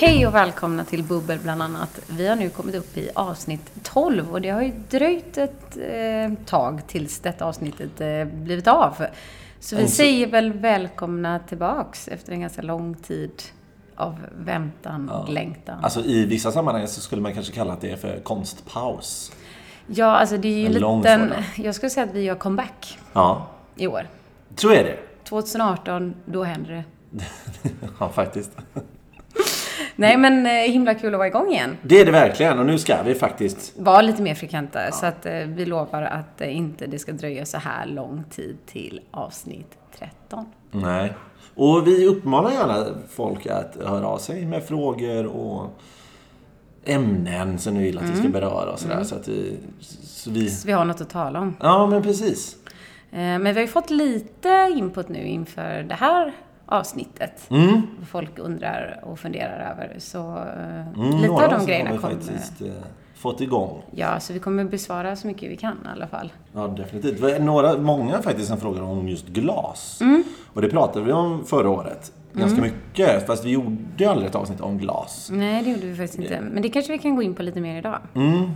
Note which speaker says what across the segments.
Speaker 1: Hej och välkomna till Bubbel bland annat. Vi har nu kommit upp i avsnitt 12 och det har ju dröjt ett eh, tag tills detta avsnittet eh, blivit av. Så vi
Speaker 2: Alltså-
Speaker 1: säger väl välkomna tillbaks efter en ganska lång tid av väntan och längtan.
Speaker 2: Alltså i vissa sammanhang så skulle man kanske kalla det för konstpaus.
Speaker 1: ja, alltså det är ju
Speaker 2: En
Speaker 1: en
Speaker 2: lång
Speaker 1: liten...
Speaker 2: sådan.
Speaker 1: Jag skulle säga att vi gör comeback
Speaker 2: Ja,
Speaker 1: i år.
Speaker 2: tror jag det.
Speaker 1: 2018, då händer det.
Speaker 2: ja, faktiskt.
Speaker 1: Nej men eh, himla kul att vara igång igen.
Speaker 2: Det är det verkligen och nu ska vi faktiskt...
Speaker 1: Var lite mer frekventa så att eh, vi lovar att eh, inte det ska dröja så här lång tid till avsnitt 13.
Speaker 2: Nej. Och vi uppmanar gärna folk att höra av sig med frågor och ämnen som ni vill att vi
Speaker 1: Mm.
Speaker 2: ska beröra och sådär. Så att vi, så vi...
Speaker 1: Så vi har något att tala om.
Speaker 2: Ja, men precis.
Speaker 1: Eh, Men vi har ju fått lite input nu inför det här avsnittet.
Speaker 2: Mm.
Speaker 1: Vad Folk undrar och funderar över. Så eh,
Speaker 2: Mm,
Speaker 1: lite
Speaker 2: några
Speaker 1: av de
Speaker 2: som har
Speaker 1: grejerna
Speaker 2: vi
Speaker 1: kommer.
Speaker 2: faktiskt eh, fått igång.
Speaker 1: Ja, så vi kommer besvara så mycket vi kan i alla fall.
Speaker 2: Ja, definitivt. Det var några, många faktiskt som frågade om just glas. Och det pratade vi om förra året. Ganska mycket. Fast vi gjorde ju aldrig ett avsnitt om glas.
Speaker 1: Nej, det gjorde vi faktiskt inte. Men det kanske vi kan gå in på lite mer idag.
Speaker 2: Mm.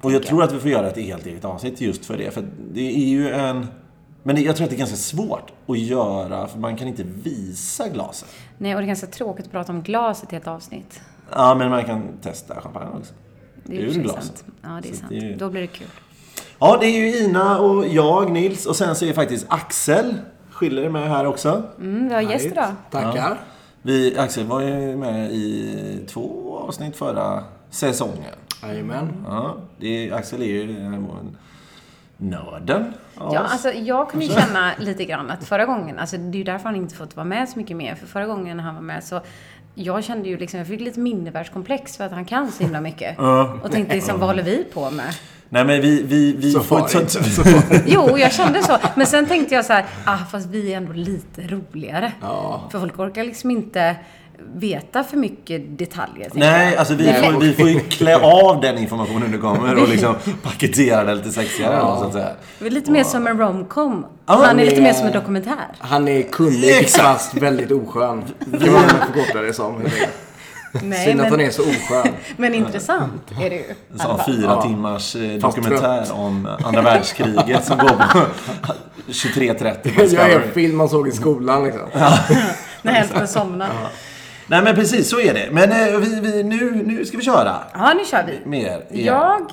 Speaker 2: Och jag tror att vi får göra ett helt eget avsnitt just för det. För det är ju en... Men det- jag tror att det är ganska svårt att göra, för man kan inte visa glasen.
Speaker 1: Nej, och det är ganska tråkigt att prata om glaset i ett avsnitt.
Speaker 2: Ja, men man kan testa champagne också.
Speaker 1: Det är ju
Speaker 2: Ur
Speaker 1: i och för sig
Speaker 2: glaset.
Speaker 1: sant. Ja, det är
Speaker 2: Så
Speaker 1: sant.
Speaker 2: det är ju-
Speaker 1: Då blir det kul.
Speaker 2: Ja, det är ju Ina och jag, Nils. Och sen så är faktiskt Axel, skiljer det med här också.
Speaker 1: Mm, vi har gäst idag.
Speaker 3: Tackar.
Speaker 2: Vi, Axel var ju med i två avsnitt förra säsongen.
Speaker 3: Jajamän.
Speaker 2: Ja, det är, Axel är ju den här nörden av
Speaker 1: Ja,
Speaker 2: oss.
Speaker 1: alltså, jag kunde ju känna lite grann att förra gången, alltså, det är ju därför han inte fått vara med så mycket mer, för förra gången han var med så jag kände ju liksom, jag fick lite mindervärldskomplex för att han kan så himla mycket. Och tänkte liksom, vad håller vi på med?
Speaker 2: Nej men vi, vi, vi
Speaker 3: Så
Speaker 2: får ett
Speaker 3: var det
Speaker 2: sånt...
Speaker 3: inte. Så var det.
Speaker 1: Jo, jag kände så. Men sen tänkte jag så här, ah, fast vi är ändå lite roligare. För folk orkar liksom inte veta för mycket detaljer. tänker
Speaker 2: Nej,
Speaker 1: jag.
Speaker 2: alltså vi,
Speaker 1: Nej.
Speaker 2: Får, vi får ju klä av den informationen du kommer och liksom paketera den lite sexigare då, så att säga.
Speaker 1: Vi är lite mer som en romcom.
Speaker 2: Ja,
Speaker 1: han är
Speaker 3: men-
Speaker 1: lite mer som en dokumentär.
Speaker 3: Han är kunnig fast väldigt oskön. Det var man förkortar det som.
Speaker 1: Nej,
Speaker 3: Synd att
Speaker 1: men-
Speaker 3: han är så oskön.
Speaker 1: Men intressant är det ju. i
Speaker 2: En
Speaker 1: alla
Speaker 2: sån
Speaker 1: fall.
Speaker 2: fyra
Speaker 3: Ja.
Speaker 2: timmars eh,
Speaker 3: Fast
Speaker 2: dokumentär om andra världskriget som går på 23.30 på
Speaker 3: Jag är en
Speaker 2: Discovery.
Speaker 3: film man såg i skolan liksom.
Speaker 1: När hälften somnar.
Speaker 2: Nej men precis, så är det. Men eh, vi, vi, nu, nu ska vi köra.
Speaker 1: Ja, nu kör vi.
Speaker 2: Mer. igen.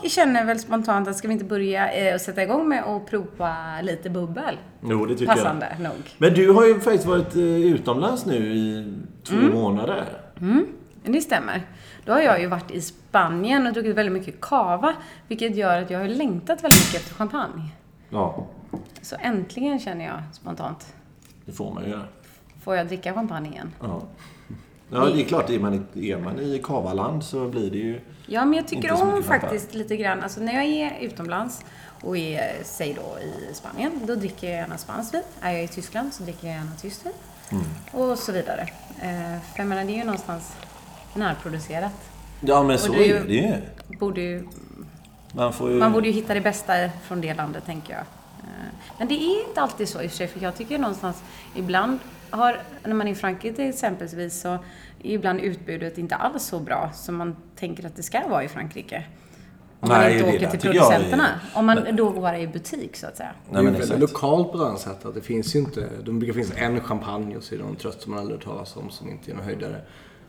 Speaker 1: Jag känner väl spontant att ska vi inte börja eh, och sätta igång med att prova lite bubbel?
Speaker 2: Jo, det tycker jag.
Speaker 1: Passande nog.
Speaker 2: Men du har ju faktiskt varit eh, utomlands nu i två
Speaker 1: Mm.
Speaker 2: månader.
Speaker 1: Det stämmer. Då har jag ju varit i Spanien och druckit väldigt mycket cava, vilket gör att jag har ju längtat väldigt mycket efter champagne.
Speaker 2: Ja,
Speaker 1: Så äntligen känner jag spontant,
Speaker 2: det får man ju göra.
Speaker 1: får jag dricka champagne igen?
Speaker 2: Ja, ja det är klart. Är man, i- är man i kavaland så blir det ju...
Speaker 1: Ja, men jag tycker
Speaker 2: Inte så
Speaker 1: om
Speaker 2: mycket champagne.
Speaker 1: faktiskt lite grann, alltså när jag är utomlands och är, säg då i Spanien, då dricker jag gärna spanskt vin. Är jag i Tyskland så dricker jag gärna tyskt vin.
Speaker 2: Mm.
Speaker 1: Och så vidare. Eh, För jag menar, det är ju någonstans närproducerat.
Speaker 2: Ja, men så
Speaker 1: det är ju-
Speaker 2: är det ju.
Speaker 1: Borde ju,
Speaker 2: Man får ju...
Speaker 1: man borde ju hitta det bästa i- från det landet, tänker jag. Eh, Men det är inte alltid så i och för sig, för jag tycker någonstans ibland har, när man är i Frankrike exempelvis, så är ibland utbudet inte alls så bra som man tänker att det ska vara i Frankrike. Om man
Speaker 2: Nej,
Speaker 1: inte
Speaker 2: det
Speaker 1: åker
Speaker 2: där
Speaker 1: till
Speaker 2: tycker jag är-
Speaker 1: producenterna. Om man då går i butik, så att säga.
Speaker 3: Det
Speaker 2: Nej,
Speaker 3: är ju
Speaker 2: men
Speaker 3: väldigt
Speaker 2: exakt.
Speaker 3: lokalt på det här sättet. Det finns ju inte. De brukar finnas en champagne och så är det någon tröst som man aldrig hört talas om som inte är någon höjdare.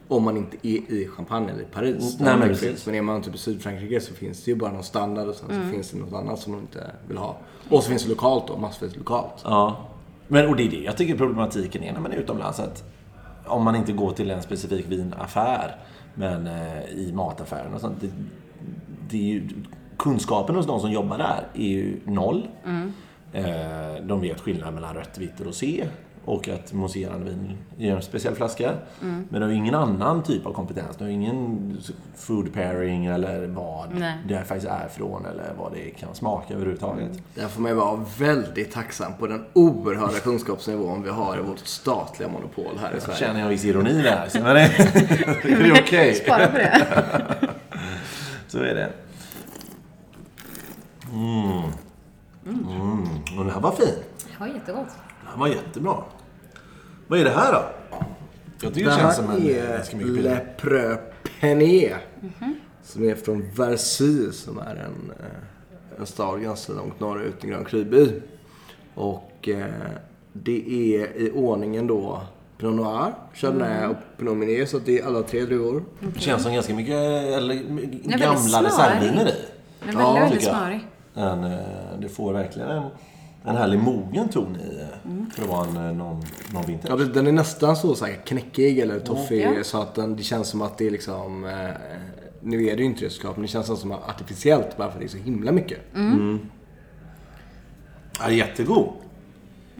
Speaker 3: Om man inte är i Champagne eller i Paris. där
Speaker 2: Nej, men
Speaker 3: det
Speaker 2: precis.
Speaker 3: finns. men är man typ i Sydfrankrike så finns det ju bara någon standard och sen
Speaker 1: Mm.
Speaker 3: så finns det något annat som man inte vill ha. Och så finns det lokalt då, massvis lokalt.
Speaker 2: Ja. Men, och det är det jag tycker problematiken är när man är utomlands. Att om man inte går till en specifik vinaffär, men eh, i mataffären och sånt. Det, det är ju, kunskapen hos de som jobbar där är ju noll. Eh, de vet skillnaden mellan rött, vitt och rosé. Och att mousserande vin är en speciell flaska. Men de har ju ingen annan typ av kompetens. De har ju ingen food pairing eller vad
Speaker 1: Nej.
Speaker 2: det faktiskt är från eller vad det kan smaka överhuvudtaget.
Speaker 3: Där får man ju vara väldigt tacksam på den oerhörda kunskapsnivån vi har i vårt statliga monopol här i
Speaker 2: Jag
Speaker 3: Sverige.
Speaker 2: Eh, känner jag en viss ironi där. Så, men det, det är okej.
Speaker 1: Spara på det.
Speaker 2: Så är det. Mm. Mm. Och den här var fin.
Speaker 1: Det var jättegott.
Speaker 2: Den här var jättebra. Vad är det här då? Jag tycker det känns som en eh, ganska mycket
Speaker 3: är
Speaker 2: pil.
Speaker 3: Le Preux Pené. Som är från Versailles som är en, eh, en stad ganska långt norrut, en grön kryby. Och eh, det är i ordningen då Pinot Noir, Chardonnay och Pinot Meunier. Så att det är alla tre druvor.
Speaker 2: Känns som ganska mycket eh, eller, gamla
Speaker 1: snarig.
Speaker 2: reservviner i.
Speaker 1: Den är väldigt, väldigt
Speaker 2: tycker jag.
Speaker 1: smarig.
Speaker 2: En, eh, det får verkligen en, en härlig mogen ton i eh,
Speaker 1: Mm.
Speaker 2: för att vara en, eh, någon, någon vinter.
Speaker 3: Ja, precis. den är nästan så, så här, knäckig eller toffig.
Speaker 1: Ja.
Speaker 3: Så att den, det känns som att det är liksom... Eh, nu är det ju inte det såklart, men det känns nästan som artificiellt bara för att det är så himla mycket.
Speaker 1: Mm.
Speaker 2: Ja, jättegod.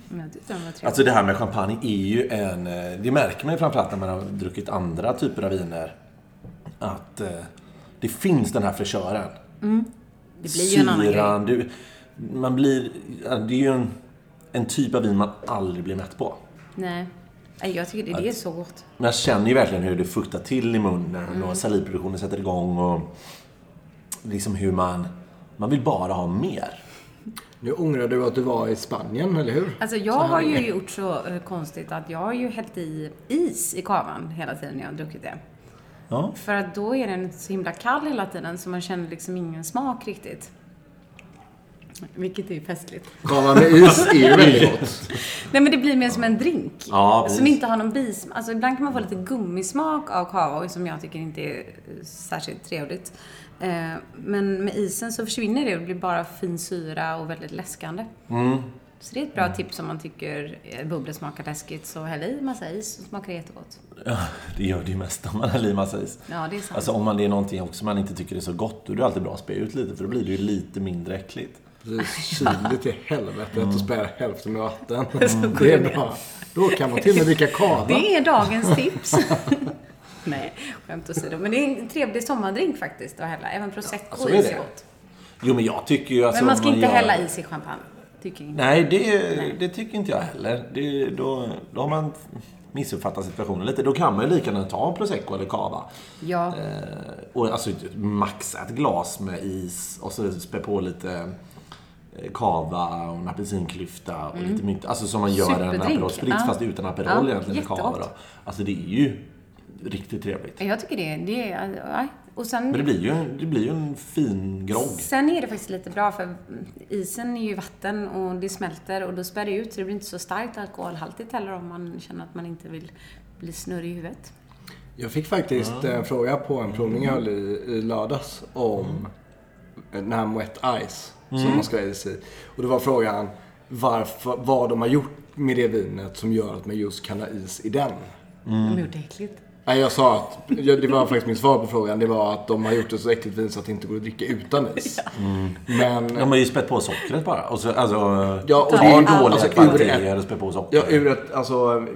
Speaker 1: Men jag tyckte den var trevlig.
Speaker 2: Alltså det här med champagne är ju en... eh, Det märker man ju framförallt när man har druckit andra typer av viner. Att eh, det finns den här fräschören.
Speaker 1: det blir ju en annan grej.
Speaker 2: Syran, Du, man blir... ja, Det är ju en, en typ av vin man aldrig blir mätt på.
Speaker 1: Nej. Nej, jag tycker det, det är så gott.
Speaker 2: Men jag känner ju verkligen hur det fuktar till i munnen
Speaker 1: Mm.
Speaker 2: och salivproduktionen sätter igång och liksom hur man... Man vill bara ha mer.
Speaker 3: Nu ångrar du att du var i Spanien, eller hur?
Speaker 1: Alltså jag har ju gjort så eh, konstigt att jag har ju hällt i is i kavan hela tiden när jag har druckit det.
Speaker 2: Ja.
Speaker 1: För att då är den så himla kall hela tiden så man känner liksom ingen smak riktigt. Vilket är ju festligt.
Speaker 3: Kava med is är ju
Speaker 1: Mm.
Speaker 3: väldigt gott.
Speaker 1: Nej men det blir mer som en drink. Alltså,
Speaker 2: Ja, precis.
Speaker 1: som inte har någon bismak. Alltså ibland kan man få lite gummismak av kava som jag tycker inte är eh, särskilt trevligt. Eh, Men med isen så försvinner det och det blir bara fin syra och väldigt läskande.
Speaker 2: Mm.
Speaker 1: Så det är ett bra tips om man tycker eh, bubblor smakar läskigt så häll i massa is så smakar det jättegott.
Speaker 2: Ja, det gör det ju mest om man har i massa is.
Speaker 1: Ja, det är sant.
Speaker 2: Alltså om man, det är någonting också man inte tycker är så gott, då är det alltid bra att spä ut lite, för då blir det ju lite mindre äckligt.
Speaker 3: Precis, kyligt i helvetet och spär hälften med vatten.
Speaker 1: går
Speaker 3: Det
Speaker 1: det ner.
Speaker 3: är bra. Då kan man till och med dricka kava.
Speaker 1: Det är dagens tips. Nej, skämt åsido. Men det är en trevlig sommardrink faktiskt att hälla. Även prosecco
Speaker 2: så
Speaker 1: och
Speaker 2: är
Speaker 1: is
Speaker 2: det.
Speaker 1: är gott.
Speaker 2: Jo, men jag tycker ju... Alltså,
Speaker 1: Men man ska
Speaker 2: om
Speaker 1: inte
Speaker 2: gör-
Speaker 1: hälla is i champagne. Tycker jag inte.
Speaker 2: Nej, det, det tycker inte jag heller. Det, då, då har man missuppfattat situationen lite. Då kan man ju lika gärna ta en prosecco eller cava.
Speaker 1: Ja.
Speaker 2: Eh, och alltså maxa ett glas med is och så spä på lite eh, cava och en apelsinklyfta och lite mynta. Alltså som man gör en
Speaker 1: Mm. Superdrink,
Speaker 2: Aperol Spritz
Speaker 1: ja.
Speaker 2: fast utan Aperol
Speaker 1: Ja,
Speaker 2: egentligen med cava.
Speaker 1: jättegott.
Speaker 2: Då. Alltså det är ju riktigt trevligt.
Speaker 1: Jag tycker det. det är, ja. och
Speaker 2: Men det
Speaker 1: sen,
Speaker 2: blir ju en, det blir ju en fin grogg.
Speaker 1: sen är det faktiskt lite bra för isen är ju vatten och det smälter och då spär det ut så det blir inte så starkt alkoholhaltigt heller om man känner att man inte vill bli snurrig i huvudet.
Speaker 3: Jag fick faktiskt en fråga på en provning jag höll i, i lördags om den här Moet Ice som man ska ha is i. Och det var frågan varför, vad de har gjort med det vinet som gör att man just kan ha is i den.
Speaker 1: Mm. De gjorde äckligt.
Speaker 3: Nej, jag sa att, jag- det var faktiskt min svar på frågan, det var att de har gjort ett så äckligt vin så att det inte går att dricka utan is. Men
Speaker 2: De har ju spätt på sockret bara. Och så, alltså,
Speaker 3: Ja, och
Speaker 2: det är ju
Speaker 3: det-
Speaker 2: dåliga
Speaker 3: alltså, ur
Speaker 2: kvaliteter att spä på sockret.
Speaker 3: Ja, ur ett alltså,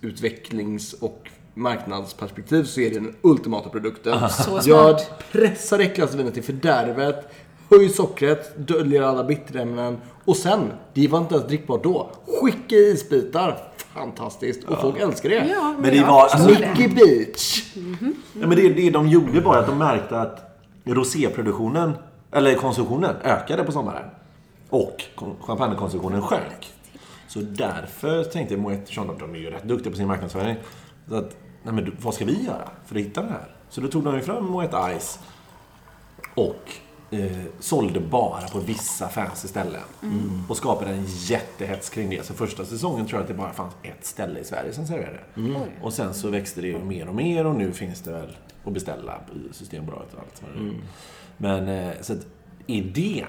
Speaker 3: produktutvecklings och marknadsperspektiv så är det den ultimata produkten.
Speaker 1: Ah. Så
Speaker 3: Jag
Speaker 1: smart.
Speaker 3: pressar det äckligaste vinet till fördärvet, höjer sockret, döljer alla bitterämnen och sen, det var inte ens drickbart då, skicka i isbitar. Fantastiskt! Och folk älskar det.
Speaker 1: Ja,
Speaker 2: Men det
Speaker 1: jag
Speaker 2: var-
Speaker 1: förstår det.
Speaker 3: Nicky Beach!
Speaker 2: Ja, men det, det de gjorde var att de märkte att roséproduktionen, eller konsumtionen, ökade på sommaren. Och kon- champagnekonsumtionen sjönk. Så därför tänkte Moet Chandon, de är ju rätt duktiga på sin marknadsföring. Så att, nej men du, vad ska vi göra för att hitta det här? Så då tog de ju fram Moet Ice och eh, sålde bara på vissa fancy ställen. Och skapade en jättehets kring det. Så första säsongen tror jag att det bara fanns ett ställe i Sverige som serverade det. Och sen så växte det ju mer och mer och nu finns det väl att beställa på Systembolaget och allt vad det är. Men eh, så att idén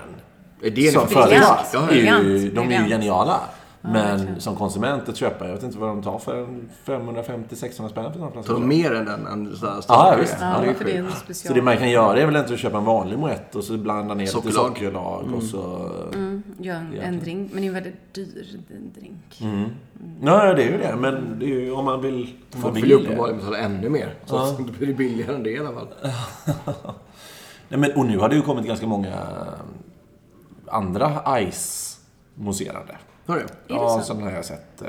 Speaker 3: Idén är
Speaker 2: som
Speaker 3: fantastisk.
Speaker 2: företag,
Speaker 3: Ja,
Speaker 2: är ju,
Speaker 1: briljant,
Speaker 2: de är ju
Speaker 1: briljant.
Speaker 2: geniala. Men som konsument att köpa, jag vet inte vad de tar för en 550-600 spänn för en sån
Speaker 3: Det var
Speaker 2: flaska.
Speaker 3: mer än den än så här
Speaker 2: Ja, visst.
Speaker 1: Ja,
Speaker 2: Ja, det är
Speaker 1: för det är en
Speaker 3: sjukt.
Speaker 1: special.
Speaker 2: Så det man kan göra är väl inte att köpa en vanlig moett och så blanda ner lite
Speaker 3: Sockerlag. Mm.
Speaker 2: sockerlag och så...
Speaker 1: Gör en, en drink, men det är en väldigt dyr drink.
Speaker 2: Mm. Nej, det är ju det. Men det är ju om man vill... Om man
Speaker 3: Man
Speaker 2: vill
Speaker 3: vill ju
Speaker 2: det.
Speaker 3: uppenbarligen betala ännu mer. Så att det blir billigare än det i alla fall.
Speaker 2: Nej, men, och nu har det ju kommit ganska många eh, andra ice-mousserande.
Speaker 3: Hör du?
Speaker 2: Ja, sådana har jag sett. eh,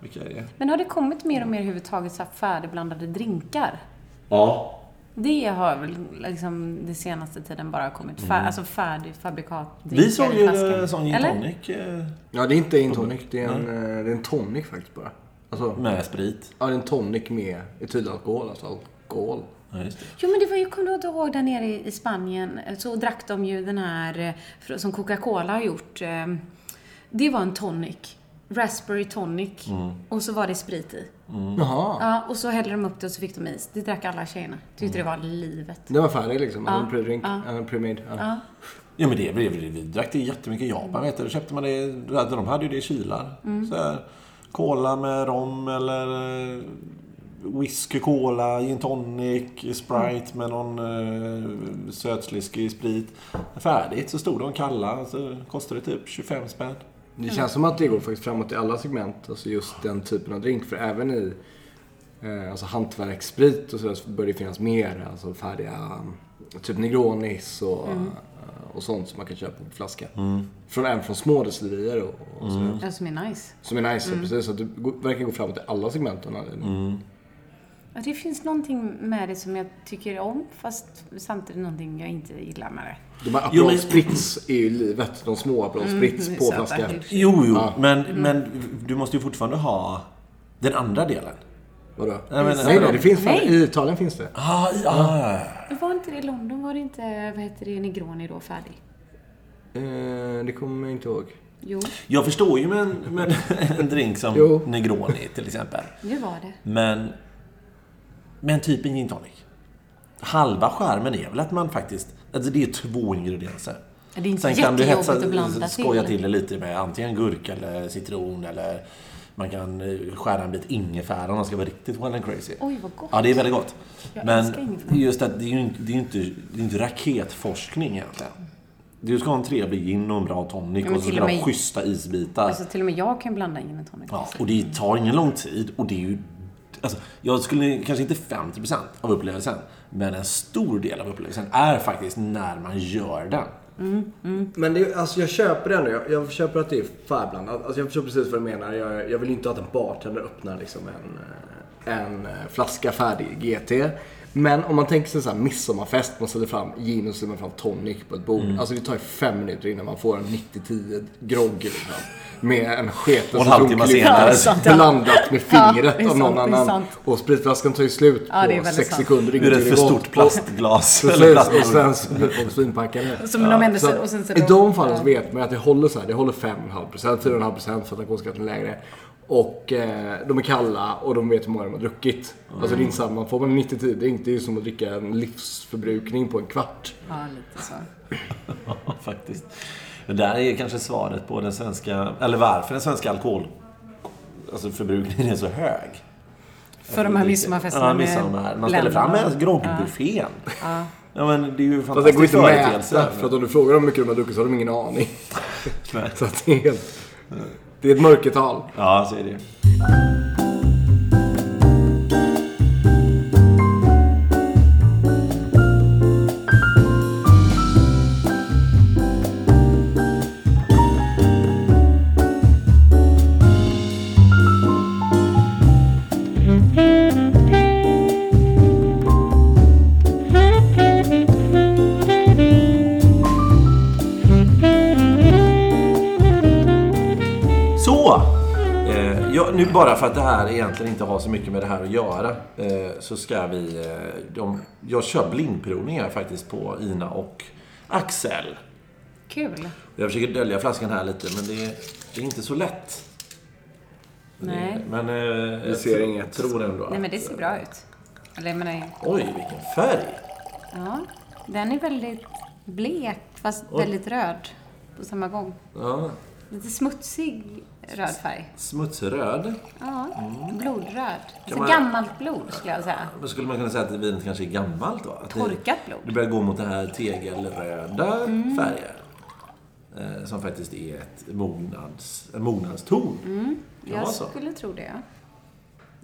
Speaker 2: Vilka är det?
Speaker 1: Men har det kommit mer och mer överhuvudtaget så här färdigblandade drinkar?
Speaker 2: Ja.
Speaker 1: Det har väl liksom den senaste tiden bara kommit fär, alltså färdig fabrikatdrinkar
Speaker 2: Mm. Vi såg
Speaker 1: i
Speaker 2: ju
Speaker 1: flaskan.
Speaker 2: en sån gin
Speaker 1: Eller?
Speaker 2: tonic. eh,
Speaker 3: Ja, det är inte en tonic. Det är en, eh, det är en tonic faktiskt bara. Alltså,
Speaker 2: Med sprit.
Speaker 3: ja, det är en tonic med etylalkohol, alltså alkohol.
Speaker 2: Ja, just det.
Speaker 1: Jo, men det var ju, kommer du inte ihåg där nere i i Spanien, eh, så drack de ju den här eh, fr- som Coca-Cola har gjort. eh, Det var en tonic. Raspberry tonic.
Speaker 3: Mm.
Speaker 1: Och så var det sprit i.
Speaker 3: Jaha.
Speaker 1: Ja, och så hällde de upp det och så fick de is. Det drack alla tjejerna. Tyckte
Speaker 3: Mm.
Speaker 1: det var livet.
Speaker 3: Det var färdig liksom. En pre-drink.
Speaker 1: ja.
Speaker 3: En pre-made. Ja.
Speaker 1: Ja.
Speaker 2: Ja men det blev det. Vi drack det jättemycket i Japan vet du. Då köpte man det. De hade ju det i kylar. Så här, cola med rom eller eh, whisky, cola, gin tonic, Sprite med någon eh, sötsliskig sprit. Färdigt. Så stod de kalla. Så kostade det typ 25 spänn.
Speaker 3: Det
Speaker 1: Mm.
Speaker 3: känns som att det går faktiskt framåt i alla segment. Alltså just den typen av drink. För även i eh, alltså hantverkssprit och sådär så bör det finnas mer. Alltså färdiga, eh, typ Negronis och,
Speaker 1: Mm.
Speaker 3: eh, och sånt som man kan köpa på flaska. Från, även från små destillerier och, och sådär.
Speaker 1: Ja, som är nice.
Speaker 3: Som är
Speaker 1: Mm.
Speaker 3: nice, precis. Så att det går- verkar gå framåt i alla segmenten. Mm.
Speaker 1: Ja, det finns någonting med det som jag tycker om, fast samtidigt någonting jag inte gillar med det.
Speaker 3: De här
Speaker 2: Jo, men-
Speaker 3: Aperol Spritz är ju livet. De små Aperol Spritz
Speaker 1: Mm,
Speaker 3: på
Speaker 1: söta.
Speaker 3: flaska.
Speaker 2: Jo, jo.
Speaker 3: Ja.
Speaker 2: Men, men du måste ju fortfarande ha den andra delen.
Speaker 3: Vadå?
Speaker 2: Jag menar-
Speaker 3: nej, nej, det finns fan,
Speaker 1: Nej.
Speaker 3: I Italien finns det.
Speaker 2: Ah, ja.
Speaker 1: Men Var inte det i London? Var det inte, vad heter det, Negroni då färdig?
Speaker 3: Eh, det kommer jag inte ihåg.
Speaker 1: Jo,
Speaker 2: Jag förstår ju med en, med en drink som
Speaker 3: Jo.
Speaker 2: Negroni till exempel.
Speaker 1: det var det.
Speaker 2: Men, men typ en gin tonic. Halva skärmen är väl att man faktiskt... Alltså det är två ingredienser.
Speaker 1: Ja, det är inte
Speaker 2: Sen kan du
Speaker 1: jättejobbigt
Speaker 2: hetsa,
Speaker 1: att blanda
Speaker 2: skoja
Speaker 1: till.
Speaker 2: till det lite med antingen gurka eller citron eller man kan eh, skära en bit ingefära om man ska vara riktigt wild and crazy.
Speaker 1: Oj, vad gott.
Speaker 2: Ja, det är väldigt gott.
Speaker 1: Jag älskar
Speaker 2: Men
Speaker 1: ingefära.
Speaker 2: just att det är ju inte, det är ju inte, det är inte raketforskning egentligen. Du ska ha en trevlig gin och en bra tonic
Speaker 1: men
Speaker 2: och så
Speaker 1: till
Speaker 2: ska
Speaker 1: och
Speaker 2: du ha
Speaker 1: med-
Speaker 2: schyssta isbitar.
Speaker 1: Alltså till och med jag kan blanda in en tonic.
Speaker 2: Ja, och det tar ingen lång tid och det är ju... Alltså, jag skulle kanske inte 50% av upplevelsen, men en stor del av upplevelsen är faktiskt när man gör den.
Speaker 3: Men det, är- alltså jag köper det ändå. Jag, jag köper att det är förblandat. Alltså jag förstår precis vad du menar. Jag, jag vill inte att en bartender öppnar liksom en, eh, en eh, flaska färdig GT. Men om man tänker sig så här midsommarfest. Man ställer fram gin och så ställer man fram tonic på ett bord.
Speaker 2: Mm.
Speaker 3: Alltså det tar ju fem minuter innan man får en 90-10 grogg liksom. Med en sketen
Speaker 2: Och en halvtimme senare.
Speaker 1: Ja, sant, ja.
Speaker 3: blandat med
Speaker 1: Ja, det är
Speaker 3: fingret av
Speaker 1: sant,
Speaker 3: någon
Speaker 1: det är
Speaker 3: annan.
Speaker 1: sant.
Speaker 3: Och spritflaskan tar ju slut
Speaker 1: Ja, det är
Speaker 3: på
Speaker 1: väldigt
Speaker 3: sex
Speaker 1: sant.
Speaker 3: sekunder.
Speaker 2: Ur ett
Speaker 3: ingenting
Speaker 2: för
Speaker 3: är gott.
Speaker 2: stort plastglas. eller
Speaker 3: Precis,
Speaker 2: plastglas.
Speaker 3: och sen så blir folk svinpackade.
Speaker 1: Som de ändå
Speaker 3: Så
Speaker 1: sen- och sen så
Speaker 3: I
Speaker 1: de-
Speaker 3: de fallen
Speaker 1: ja.
Speaker 3: så vet man att det håller så här. Det håller 5,5%, 4,5% för att alkoholskatten är lägre. Och eh, de är kalla och de vet hur många de har druckit. Alltså det är inte samma. Får man en 90 drink, det är ju som att dricka en livsförbrukning på en kvart. Alltså,
Speaker 1: Ja, lite så.
Speaker 2: Ja, faktiskt. Det där är kanske svaret på den svenska... Eller varför den svenska alkohol... Alltså förbrukningen är så hög.
Speaker 1: För de här midsommarfesterna
Speaker 2: Ja, midsommar. Man ställer fram
Speaker 1: länderna.
Speaker 2: en groggbuffén. Ja. men det är ju
Speaker 3: Fast det går
Speaker 2: fantastiskt
Speaker 3: inte att mäta. För att om du frågar dem hur mycket de har druckit så har de ingen aning.
Speaker 2: Nej.
Speaker 3: Så att det är helt... Det är ett mörkertal.
Speaker 2: Ja, så är det ju. Så! Eh, ja, nu bara för att det här egentligen inte har så mycket med det här att göra eh, så ska vi... Eh, de, jag kör blindprovningar faktiskt på Ina och Axel.
Speaker 1: Kul.
Speaker 2: Jag försöker dölja flaskan här lite men det, det är inte så lätt.
Speaker 1: Nej.
Speaker 2: Men... Eh, jag
Speaker 3: ser
Speaker 2: tr-
Speaker 3: inget.
Speaker 2: tror ändå
Speaker 1: Nej,
Speaker 2: att-
Speaker 1: men det ser bra ut. Eller jag menar,
Speaker 2: Oj, vilken färg!
Speaker 1: ja. Den är väldigt blek, fast väldigt röd på samma gång.
Speaker 2: Ja,
Speaker 1: Lite smutsig röd färg.
Speaker 2: smutsröd.
Speaker 1: Ja, blodröd. Alltså
Speaker 2: Mm. man-
Speaker 1: gammalt blod skulle jag säga.
Speaker 2: Men skulle man kunna säga att vinet kanske är gammalt då? Att det-
Speaker 1: Torkat blod. Mm.
Speaker 2: Det börjar gå mot den här tegelröda färgen. Eh, som faktiskt är ett mognads, en mognadston.
Speaker 1: Mm.
Speaker 2: Kan vara
Speaker 1: Jag
Speaker 2: så.
Speaker 1: skulle tro det.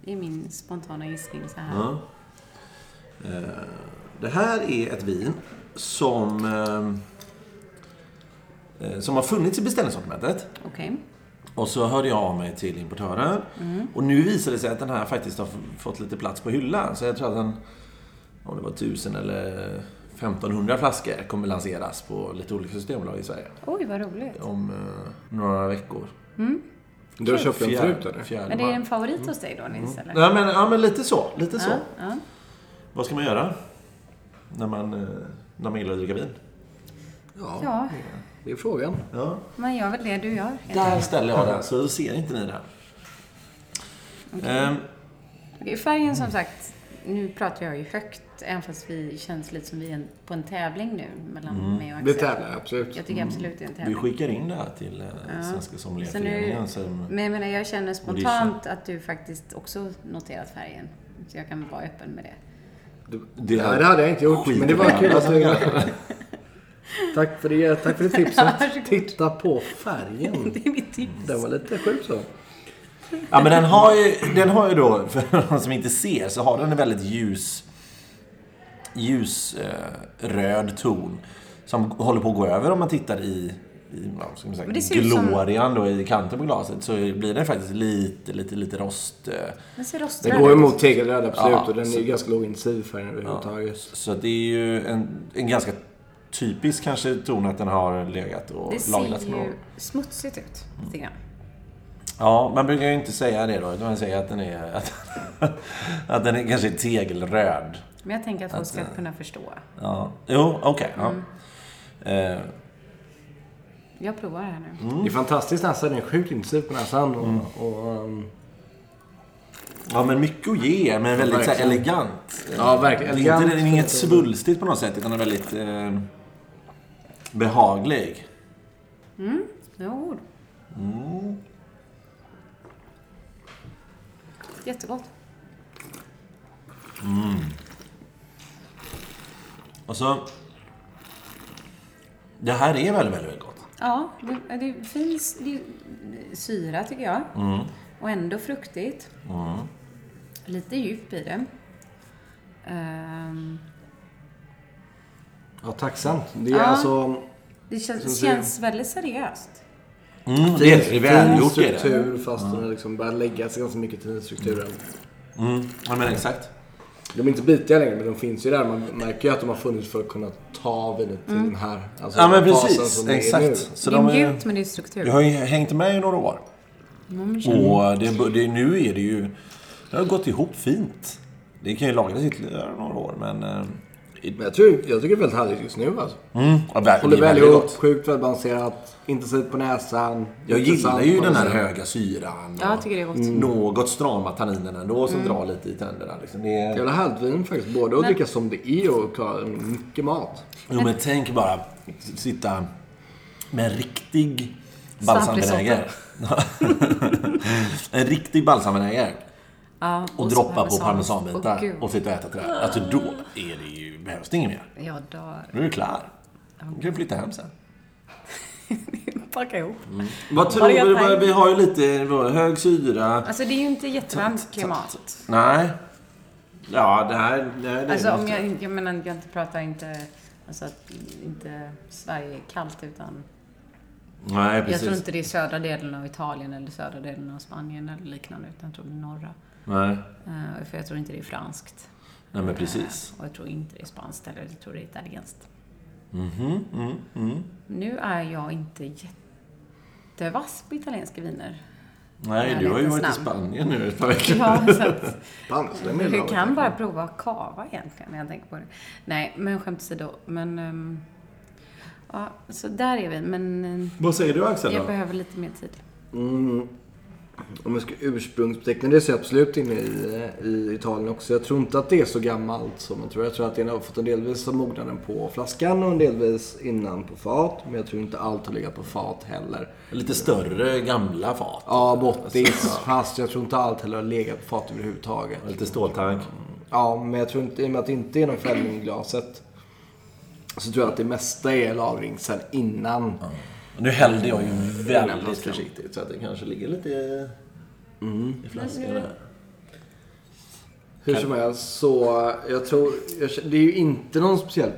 Speaker 1: I min spontana gissning så här.
Speaker 2: Ja. Eh, det här är ett vin som, eh, eh, som har funnits i beställningssortimentet.
Speaker 1: Okej.
Speaker 2: Och så hörde jag av mig till importören.
Speaker 1: Mm.
Speaker 2: Och nu visar det sig att den här faktiskt har f- fått lite plats på hyllan. Så jag tror att den, om det var 1000 eller 1500 flaskor, kommer lanseras på lite olika systembolag i Sverige.
Speaker 1: Oj, vad roligt.
Speaker 2: Om eh, några veckor.
Speaker 3: Du har köpt den
Speaker 2: Fjär-
Speaker 3: förut eller?
Speaker 2: fjärde
Speaker 1: Men det är
Speaker 2: man.
Speaker 1: en favorit
Speaker 2: Mm.
Speaker 1: hos dig då Nils, eller?
Speaker 2: Nej, men, ja, men lite så. Lite så.
Speaker 1: Ja, ja.
Speaker 2: Vad ska man göra när man, eh, när man gillar att dricka vin?
Speaker 3: Ja,
Speaker 1: ja,
Speaker 3: det är frågan.
Speaker 2: Ja.
Speaker 1: man gör väl det du gör.
Speaker 2: Där ställer jag den, så ser inte ni den. Ehm,
Speaker 1: Okej, Färgen som sagt, nu pratar jag ju högt, även fast vi känns lite som vi är en- på en tävling nu mellan mig och
Speaker 3: Mm. Det Mm.
Speaker 1: Axel.
Speaker 3: tävlar jag absolut.
Speaker 1: Jag tycker absolut det är en
Speaker 2: vi
Speaker 1: tävling.
Speaker 2: skickar in det här till eh, Svenska
Speaker 1: Så nu,
Speaker 2: Sommelierföreningen. som-
Speaker 1: men jag menar, jag känner spontant att du faktiskt också noterat färgen. Så jag kan vara öppen med det.
Speaker 3: Du-
Speaker 2: Det
Speaker 3: Nej,
Speaker 2: här-
Speaker 3: det hade jag inte gjort,
Speaker 2: Skit
Speaker 3: men det var
Speaker 2: i
Speaker 3: kul
Speaker 2: det.
Speaker 3: att du... Tack för det, tack för det tipset.
Speaker 1: Varsågod.
Speaker 3: Titta på färgen.
Speaker 1: Det är mitt tips.
Speaker 3: Den var lite sjuk så.
Speaker 2: Ja, men den har ju, den har ju då, för de som inte ser, så har den en väldigt ljus ljusröd ton som håller på att gå över om man tittar i, i vad ska man säga,
Speaker 1: Men det ser ut som-
Speaker 2: glorian då, i kanten på glaset så blir den faktiskt lite, lite, lite rost. eh,
Speaker 1: Den ser roströd
Speaker 3: Den går
Speaker 1: ut.
Speaker 3: emot tegelröd absolut
Speaker 2: Ja,
Speaker 3: och den är
Speaker 2: så-
Speaker 3: ju ganska lågintensiv färgen överhuvudtaget.
Speaker 2: Så det är ju en, en ganska typisk kanske ton att den har legat och
Speaker 1: Det
Speaker 2: lagrats
Speaker 1: ser
Speaker 2: med
Speaker 1: ju
Speaker 2: någon.
Speaker 1: smutsigt ut. Lite
Speaker 3: Mm.
Speaker 1: grann.
Speaker 2: Ja, man brukar ju inte säga det då, utan man säger att den är, att, att den är kanske är tegelröd.
Speaker 1: Men jag tänker att folk
Speaker 3: Alltså-
Speaker 1: ska kunna förstå.
Speaker 2: Ja. Jo, okej. ja. Eh,
Speaker 1: Jag provar här nu.
Speaker 3: Det är fantastiskt näsa, den är sjukt intensiv på näsan. Och, och, um,
Speaker 2: Ja, men mycket att ge, men väldigt så här,
Speaker 3: verkligen.
Speaker 2: elegant.
Speaker 3: Ja, verkligen.
Speaker 2: Det är, inte, det är
Speaker 3: Elegant.
Speaker 2: inget svulstigt på något sätt, utan den är väldigt eh, behaglig.
Speaker 1: Jo.
Speaker 3: Mm.
Speaker 1: Jättegott.
Speaker 2: Och så... Det här är väldigt, väldigt, väldigt gott.
Speaker 1: Ja, det, det finns det är syra tycker jag.
Speaker 2: Mm.
Speaker 1: Och ändå fruktigt. Lite djup i det. Ehm,
Speaker 3: ja, tacksamt. Det är
Speaker 1: Ja.
Speaker 3: alltså...
Speaker 1: det känns,
Speaker 3: ser-
Speaker 1: känns väldigt seriöst.
Speaker 2: Mm, det är- det är välgjort.
Speaker 3: fin
Speaker 2: är det.
Speaker 3: struktur fast den liksom börjar lägga sig ganska mycket till den strukturen.
Speaker 2: Mm, ja, men exakt.
Speaker 3: De är inte bitiga längre men de finns ju där. Man märker ju att de har funnits för att kunna ta vinet
Speaker 1: Mm.
Speaker 3: till den här alltså,
Speaker 2: Ja, men
Speaker 3: den fasen
Speaker 2: precis.
Speaker 3: som det är nu.
Speaker 2: Exakt. Så
Speaker 1: det är
Speaker 2: de är,
Speaker 1: mjukt men det är struktur.
Speaker 2: jag har ju hängt med i några år. Och det, bör- det, nu är det ju... Det har gått ihop fint. Det kan ju lagras ytterligare några år, men... eh, i-
Speaker 3: Men jag, tror, jag tycker det är väldigt härligt just nu alltså.
Speaker 2: Mm, ja, det är
Speaker 3: Mm. Håller väl
Speaker 2: väldigt
Speaker 3: ihop,
Speaker 2: gott.
Speaker 3: sjukt välbalanserat, intensivt på näsan.
Speaker 2: Jag gillar
Speaker 3: intressant
Speaker 2: ju
Speaker 3: på
Speaker 2: den här
Speaker 3: något sätt.
Speaker 2: höga syran.
Speaker 1: Ja, jag
Speaker 2: och
Speaker 1: tycker det är gott.
Speaker 2: Något strama tanninen ändå
Speaker 1: Mm.
Speaker 2: som drar lite i tänderna. Liksom. Det är...
Speaker 3: Jävla härligt vin faktiskt. Både att dricka som det är och ta mycket mat.
Speaker 2: Jo, men tänk bara s- sitta med en riktig
Speaker 1: Svamp i
Speaker 2: balsamvinäger. en riktig balsamvinäger.
Speaker 1: Ja,
Speaker 2: Och,
Speaker 1: så
Speaker 2: droppa på
Speaker 1: Åh,
Speaker 2: parmesanbitar
Speaker 1: gud.
Speaker 2: och sitta och äta till det här. Alltså då är det ju, behövs det inget mer.
Speaker 1: Jag dör.
Speaker 2: Nu är du klar. Du kan flytta hem sen.
Speaker 1: Packa ihop.
Speaker 2: Mm. Vad
Speaker 1: tror du- vad-
Speaker 2: Vi har ju lite hög syra.
Speaker 1: Alltså det är ju inte jättevarmt klimat.
Speaker 2: Nej. Ja, det här... Det här det
Speaker 1: Alltså om jag, jag menar, jag inte pratar inte, alltså att inte Sverige är kallt utan
Speaker 2: Nej, precis.
Speaker 1: Jag tror inte det är södra delen av Italien eller södra delen av Spanien eller liknande, utan jag tror det är norra.
Speaker 2: Nej.
Speaker 1: Eh, för jag tror inte det är franskt.
Speaker 2: Nej, men precis.
Speaker 1: Eh, och jag tror inte det är spanskt eller jag tror det är italienskt.
Speaker 2: Mm-hmm,
Speaker 1: Nu är jag inte jättevass på italienska viner.
Speaker 2: Nej,
Speaker 1: Nej,
Speaker 2: du har ju
Speaker 1: lite
Speaker 2: varit i
Speaker 1: snabb.
Speaker 2: Spanien nu ett par veckor.
Speaker 1: Ja, så att,
Speaker 3: Fan, så den är
Speaker 1: jag
Speaker 3: bra.
Speaker 1: kan bara prova kava egentligen när jag tänker på det. Nej, men skämt åsido. Men, ehm, ja, så där är vi. Men ehm,
Speaker 2: Vad säger du Axel
Speaker 1: jag behöver lite mer tid.
Speaker 3: Om jag ska ursprungsbeteckna det så är jag absolut inne i, i Italien också. Jag tror inte att det är så gammalt som man tror. Jag tror att det har fått en delvis av mognaden på flaskan och en delvis innan på fat. Men jag tror inte allt har legat på fat heller.
Speaker 2: Lite större gamla fat.
Speaker 3: Ja, bottis, fast jag tror inte allt heller har legat på fat överhuvudtaget.
Speaker 2: Lite ståltank.
Speaker 3: Ja, men jag tror inte, i och med att det inte är någon fällning i glaset så tror jag att det mesta är lagring sen innan.
Speaker 2: Nu hällde jag ju
Speaker 3: Väldigt
Speaker 2: väldigt försiktigt mm. så att det kanske ligger lite i, i
Speaker 1: Mm.
Speaker 2: flaskan där.
Speaker 3: Hur som helst så, eh, jag tror, jag, känner- det är ju inte någon speciell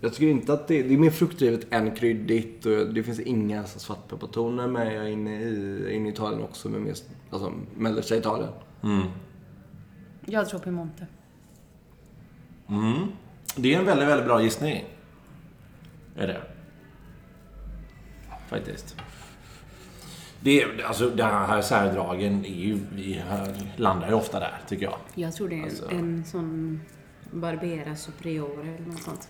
Speaker 3: jag tycker inte att det, det är mer fruktdrivet än kryddigt och det finns inga så svartpeppartoner men jag är inne i, inne i Italien också med mer, alltså mellersta Italien.
Speaker 1: Jag tror Piemonte.
Speaker 2: Det är en väldigt, väldigt bra gissning. Är det. Faktiskt. Det, är- alltså, det här särdragen är ju, vi landar ju ofta där, tycker jag.
Speaker 1: Jag tror det är
Speaker 2: Alltså.
Speaker 1: en, en sån Barbera Superiore eller något sånt.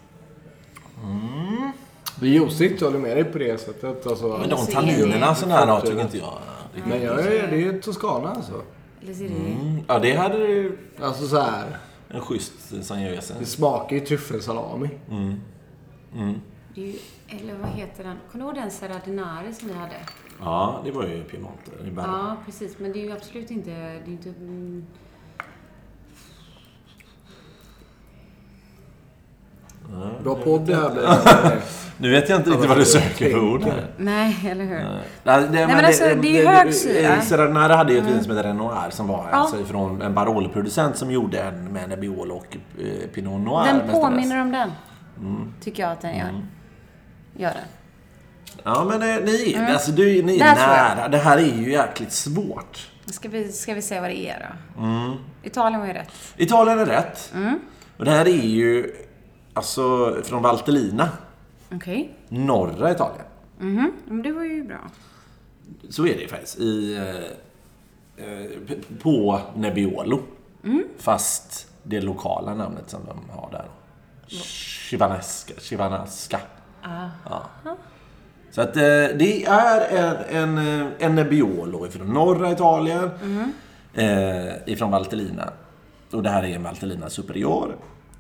Speaker 3: Josigt håller med dig på det sättet. Alltså,
Speaker 2: Men
Speaker 1: de
Speaker 2: de
Speaker 1: ser tanninerna
Speaker 2: tanninerna
Speaker 1: det.
Speaker 2: sån
Speaker 3: sån
Speaker 2: här
Speaker 3: här
Speaker 2: har,
Speaker 3: har,
Speaker 2: tycker
Speaker 3: tycker
Speaker 2: inte
Speaker 3: inte
Speaker 2: jag.
Speaker 3: Men jag är, det är ju Toscana alltså.
Speaker 1: Eller ser det...
Speaker 2: Mm. Ja, det hade ju
Speaker 3: Alltså så här.
Speaker 2: en schysst Sangiovese.
Speaker 3: Det smakar ju tryffelsalami.
Speaker 1: det är ju, eller vad heter den? Kommer du ihåg den Serradinari som vi hade?
Speaker 2: Ja, det var ju Piemonte. i Bergamo.
Speaker 1: Ja, precis. Men det är ju absolut inte... Det är inte mm,
Speaker 3: Bra podd det här blir.
Speaker 2: Nu vet jag inte riktigt vad du söker för ord. här.
Speaker 1: nej, eller hur?
Speaker 2: Nej, Nej, men
Speaker 1: men alltså, det är ju hög syra.
Speaker 2: Serranara eh, hade ju ett vin som hette Renoir som var
Speaker 1: Ja.
Speaker 2: alltså från en Barolo-producent som gjorde en med Nebbiolo och eh, Pinot Noir.
Speaker 1: Den
Speaker 2: mestadels.
Speaker 1: påminner om den.
Speaker 2: Mm.
Speaker 1: Tycker jag att den gör. Gör den.
Speaker 2: Ja, men eh, ni,
Speaker 1: Mm.
Speaker 2: alltså, du, ni är
Speaker 1: Där tror jag.
Speaker 2: nära. Det här är ju jäkligt svårt.
Speaker 1: Ska vi, ska vi se vad det är då?
Speaker 2: Mm.
Speaker 1: Italien var ju rätt.
Speaker 2: Italien är rätt.
Speaker 1: Mm.
Speaker 2: Och det här är ju alltså från Valtellina,
Speaker 1: Okej.
Speaker 2: norra Italien.
Speaker 1: Mhm. Men det var ju bra.
Speaker 2: Så är det ju faktiskt. I, eh, eh, p- på Nebbiolo. Fast det lokala namnet som de har där. Chivanaska. Chivanaska. Ja. Så att eh, det är en, en, eh, en Nebbiolo ifrån norra Italien. Eh, ifrån Valtellina. Och det här är en Valtellina Superior.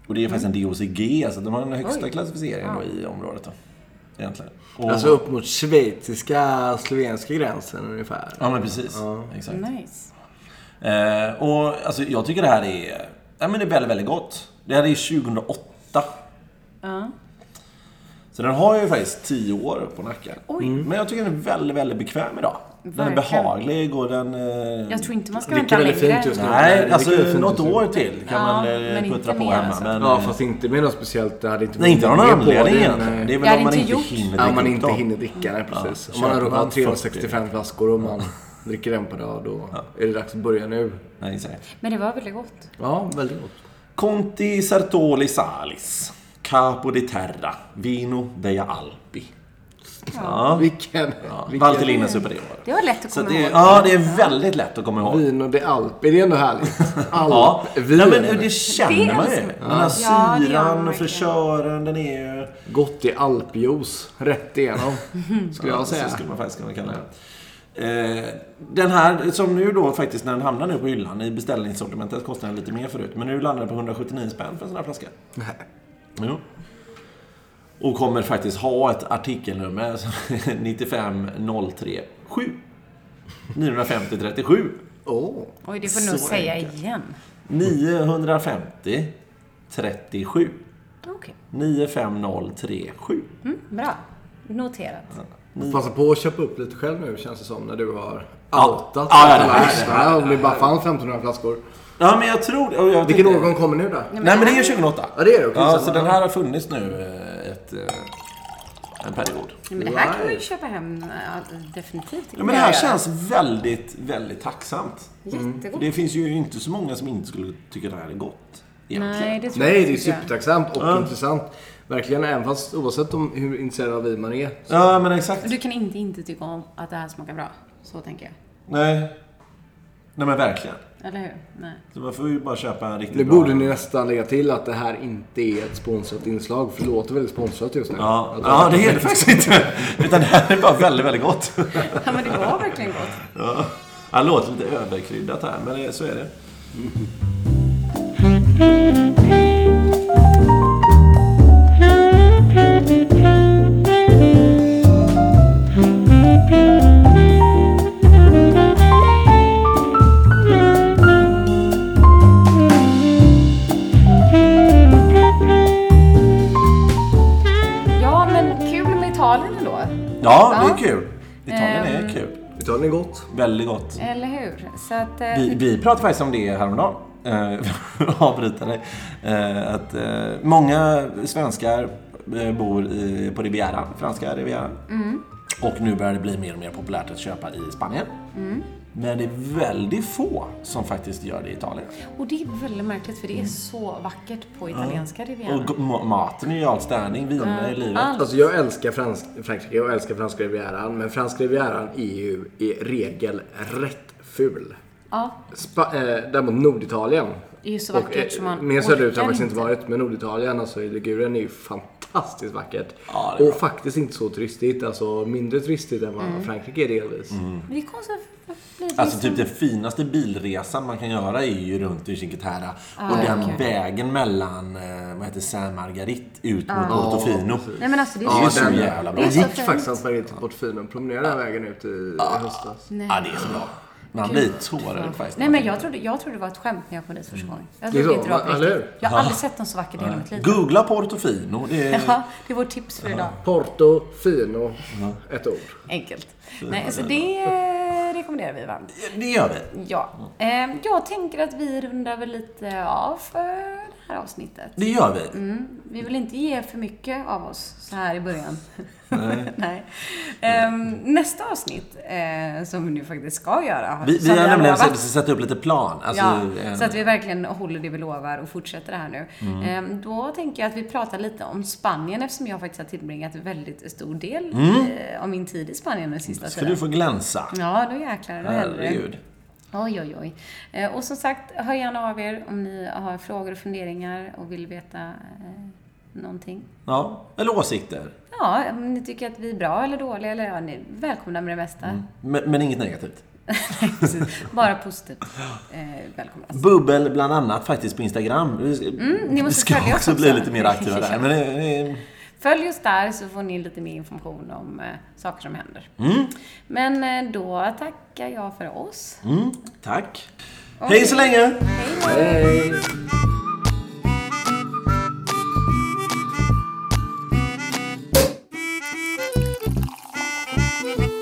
Speaker 2: Och det är faktiskt en DOCG, så de har den högsta
Speaker 1: Oj.
Speaker 2: klassificeringen då i området. Då. Egentligen. Och,
Speaker 3: Alltså upp mot schweiziska, slovenska gränsen ungefär.
Speaker 2: ja, men precis. Exakt.
Speaker 1: Nice.
Speaker 2: Eh, och alltså, jag tycker det här är, ja, men det är väldigt, väldigt gott. Det här är 2008.
Speaker 1: Ja.
Speaker 2: Så den har ju faktiskt 10 år på nacken. Mm. Men jag tycker den är väldigt, väldigt bekväm idag. Den är
Speaker 1: Verkligen.
Speaker 2: behaglig och den... eh,
Speaker 1: Jag tror inte man ska
Speaker 3: Det
Speaker 1: vänta
Speaker 3: är väldigt
Speaker 1: längre.
Speaker 3: fint just nu.
Speaker 2: Nej,
Speaker 3: Det
Speaker 2: alltså
Speaker 3: är fint
Speaker 2: något
Speaker 3: att se.
Speaker 2: år till kan
Speaker 1: Ja,
Speaker 2: man
Speaker 1: men
Speaker 2: eh,
Speaker 1: inte
Speaker 2: puttra på
Speaker 1: mer
Speaker 2: hemma.
Speaker 1: alltså.
Speaker 2: Men,
Speaker 3: Ja,
Speaker 2: eh,
Speaker 3: fast inte med något speciellt. Det hade inte
Speaker 2: Nej, inte av någon
Speaker 3: blivit mer på
Speaker 2: anledning
Speaker 3: den,
Speaker 2: egentligen.
Speaker 3: eh,
Speaker 2: Det är
Speaker 1: Jag
Speaker 2: väl
Speaker 1: hade
Speaker 2: om man
Speaker 1: inte
Speaker 2: inte
Speaker 1: gjort.
Speaker 2: hinner
Speaker 3: Ja, om man
Speaker 2: dricka upp
Speaker 3: inte
Speaker 2: dem.
Speaker 3: hinner dricka den precis.
Speaker 2: Ja,
Speaker 3: Om man har
Speaker 2: köper man
Speaker 3: råkat 365 flaskor och man dricker en per dag, då är det dags att börja nu.
Speaker 2: Nej, exakt.
Speaker 1: Men det var väldigt gott.
Speaker 3: Ja, väldigt gott.
Speaker 2: Conti Sertoli Salis. Capo di Terra. Vino della Alpi. Ja.
Speaker 3: Vilken...
Speaker 2: ja.
Speaker 3: vilken
Speaker 2: Valtellina Superiore.
Speaker 1: Det var lätt att
Speaker 2: Så
Speaker 1: komma
Speaker 2: det,
Speaker 1: ihåg.
Speaker 2: ja, det är väldigt lätt att komma ihåg.
Speaker 3: Vin och det Alp. Är det ändå härligt?
Speaker 2: Ja,
Speaker 3: Alp. Vin.
Speaker 2: Nej, men det känner man ju.
Speaker 1: Det är
Speaker 2: Den här
Speaker 1: Ja, det gör man
Speaker 2: syran och
Speaker 1: verkligen.
Speaker 2: fräschören, den är ju...
Speaker 3: Gott i alpjuice. Rätt igenom. Skulle jag
Speaker 2: Så
Speaker 3: säga.
Speaker 2: skulle man faktiskt kunna kalla den. Eh, Den här, som nu då faktiskt när den hamnar nu på hyllan i beställningssortimentet kostar den lite mer förut. Men nu landar den på 179 spänn för en sån här flaska.
Speaker 3: Nej.
Speaker 2: Jo. Och kommer faktiskt ha ett artikelnummer 95037. 950 37.
Speaker 3: Åh.
Speaker 1: Oj, det får du nog
Speaker 2: Så
Speaker 1: säga
Speaker 2: enkelt.
Speaker 1: igen.
Speaker 2: 950 37.
Speaker 1: Okej.
Speaker 2: 95037.
Speaker 1: Mm, bra. Noterat.
Speaker 3: Passa på att köpa upp lite själv nu känns det som när du har
Speaker 2: Ja.
Speaker 3: outat
Speaker 2: Ja, ja, det
Speaker 3: alla
Speaker 2: här-
Speaker 3: lyssnare. Om det bara fanns 1500 flaskor.
Speaker 2: Ja, men jag tror och jag
Speaker 3: Vilken
Speaker 2: tänkte-
Speaker 3: årgång kommer nu då?
Speaker 2: Nej, men det är ju 2008.
Speaker 3: Ja, det är det, okej,
Speaker 2: ja,
Speaker 3: så-
Speaker 2: så den här har funnits nu eh, ett, eh, en period.
Speaker 1: Nej, men det här kan man ju köpa hem äh, definitivt.
Speaker 2: Ja, men det här känns väldigt, väldigt tacksamt.
Speaker 1: jättegott.
Speaker 2: Det finns ju inte så många som inte skulle tycka det här är gott. Egentligen.
Speaker 1: Nej, det tror
Speaker 3: Nej,
Speaker 1: jag
Speaker 3: det är
Speaker 1: inte.
Speaker 3: supertacksamt och intressant. Verkligen, även fast oavsett om hur intresserad av vin man är.
Speaker 2: Ja, men exakt.
Speaker 1: Du kan inte inte tycka om att det här smakar bra. Så tänker jag.
Speaker 2: Nej. Nej, men verkligen.
Speaker 1: Eller hur? Nej.
Speaker 2: Så man får ju bara köpa en riktigt
Speaker 3: Nu
Speaker 2: bra...
Speaker 3: borde ni nästan lägga till att det här inte är ett sponsrat inslag, för det låter väldigt sponsrat just nu. Alltså,
Speaker 2: Ja,
Speaker 3: Att-
Speaker 2: ja, det är det faktiskt inte. Utan det här är bara väldigt, väldigt gott.
Speaker 1: Ja, men det var verkligen gott.
Speaker 2: Ja. Han låter lite överkryddat här, men det, så är det.
Speaker 1: Ja, men kul med Italien ändå.
Speaker 2: Ja, det
Speaker 1: Ja.
Speaker 2: är kul. Italien är kul.
Speaker 3: Italien är gott.
Speaker 2: Väldigt gott.
Speaker 1: Eller hur? Så att... eh,
Speaker 2: Vi, vi pratade faktiskt om det häromdagen. Eh, Avbryta dig. Eh, att eh, många svenskar eh, bor i, på Rivieran, franska Rivieran. Och nu börjar det bli mer och mer populärt att köpa i Spanien. Men det är väldigt få som faktiskt gör det i Italien.
Speaker 1: Och det är väldigt märkligt för det är så vackert på italienska rivieran.
Speaker 2: Och go- ma- maten är ju outstanding, vinerna är livet.
Speaker 1: Allt.
Speaker 3: Alltså jag älskar Frans Frankrike, jag älskar franska rivieran. Men franska rivieran är ju i regel rätt ful.
Speaker 1: Ja,
Speaker 3: Spa, eh, däremot Norditalien.
Speaker 1: det är ju så
Speaker 3: Och,
Speaker 1: vackert som
Speaker 3: eh,
Speaker 1: man
Speaker 3: Mer söderut har
Speaker 1: orkar
Speaker 3: jag faktiskt inte
Speaker 1: inte.
Speaker 3: varit, men Norditalien, alltså i Ligurien, är ju fantastiskt vackert.
Speaker 2: Ja, det är
Speaker 3: och faktiskt inte så turistigt, alltså mindre turistigt än vad
Speaker 1: Mm.
Speaker 3: Frankrike är delvis.
Speaker 2: Mm.
Speaker 1: Men det är konstigt att det blir
Speaker 2: Alltså
Speaker 1: liksom-
Speaker 2: typ den finaste bilresan man kan göra är ju runt i Cinque Terre. och
Speaker 1: ja,
Speaker 2: den
Speaker 1: Ah, okej.
Speaker 2: vägen mellan, eh, vad heter San Margarit ut mot Portofino.
Speaker 1: Ah. Nej men alltså det är
Speaker 2: Ja,
Speaker 1: så...
Speaker 2: den-
Speaker 1: fint.
Speaker 2: jävla
Speaker 1: Det
Speaker 2: bra.
Speaker 1: är
Speaker 3: Jag
Speaker 1: så
Speaker 3: gick
Speaker 1: fint.
Speaker 3: faktiskt hans väg till Portofino och promenerade den vägen ut i, i höstas.
Speaker 1: Nej.
Speaker 2: Ja, det är så bra. Man blir tårögd faktiskt.
Speaker 1: Nej men jag trodde, jag trodde det var ett skämt när jag kom dit första
Speaker 2: Mm.
Speaker 1: gången. Jag
Speaker 3: Det är
Speaker 1: trodde
Speaker 3: så,
Speaker 1: inte det var på
Speaker 3: va? Eller
Speaker 1: riktigt.
Speaker 3: hur?
Speaker 1: Jag har aldrig sett något så vackert i hela mitt liv.
Speaker 2: Googla Portofino. Det är...
Speaker 1: Jaha, det är vårt tips för idag.
Speaker 3: Portofino, ett ord.
Speaker 1: Enkelt. Nej, så det eh, rekommenderar vi varmt.
Speaker 2: Det gör vi.
Speaker 1: Ja. Eh, Jag tänker att vi rundar väl lite av för det här avsnittet.
Speaker 2: Det gör vi.
Speaker 1: Mm. Vi vill inte ge för mycket av oss så här i början. Nej. Ehm, nästa avsnitt, eh, som vi nu faktiskt ska göra.
Speaker 2: Vi, vi
Speaker 1: som
Speaker 2: har nämligen
Speaker 1: lovat.
Speaker 2: satt- satt upp lite plan. Alltså,
Speaker 1: Ja,
Speaker 2: en- Mm.
Speaker 1: så att vi verkligen håller det vi lovar och fortsätter det här nu. Ehm, Då tänker jag att vi pratar lite om Spanien eftersom jag faktiskt har tillbringat väldigt stor del eh, av min tid i Spanien den sista
Speaker 2: Mm. Ska
Speaker 1: tiden.
Speaker 2: du få glänsa?
Speaker 1: Ja, då jäklar. Då händer Mm, det.
Speaker 2: Herregud.
Speaker 1: Oj, oj, oj. Eh, Och som sagt, hör gärna av er om ni har frågor och funderingar och vill veta eh, någonting.
Speaker 2: Ja, eller åsikter.
Speaker 1: Ja, om ni tycker att vi är bra eller dåliga eller ja, ni är välkomna med det mesta.
Speaker 2: Men, men inget negativt.
Speaker 1: Precis. Bara positivt eh, välkomna.
Speaker 2: Bubbel bland annat faktiskt på Instagram. Vi-
Speaker 1: Mm, ni måste
Speaker 2: vi
Speaker 1: följa
Speaker 2: ska
Speaker 1: oss
Speaker 2: också
Speaker 1: också.
Speaker 2: bli lite mer aktiva där.
Speaker 1: Ja.
Speaker 2: Men, eh, det- det-
Speaker 1: Följ oss där så får ni lite mer information om eh, saker som händer. Men eh, då tackar jag för oss.
Speaker 2: mm, tack. Hej så länge!
Speaker 1: Hej då!
Speaker 3: Hej!
Speaker 4: Thank you.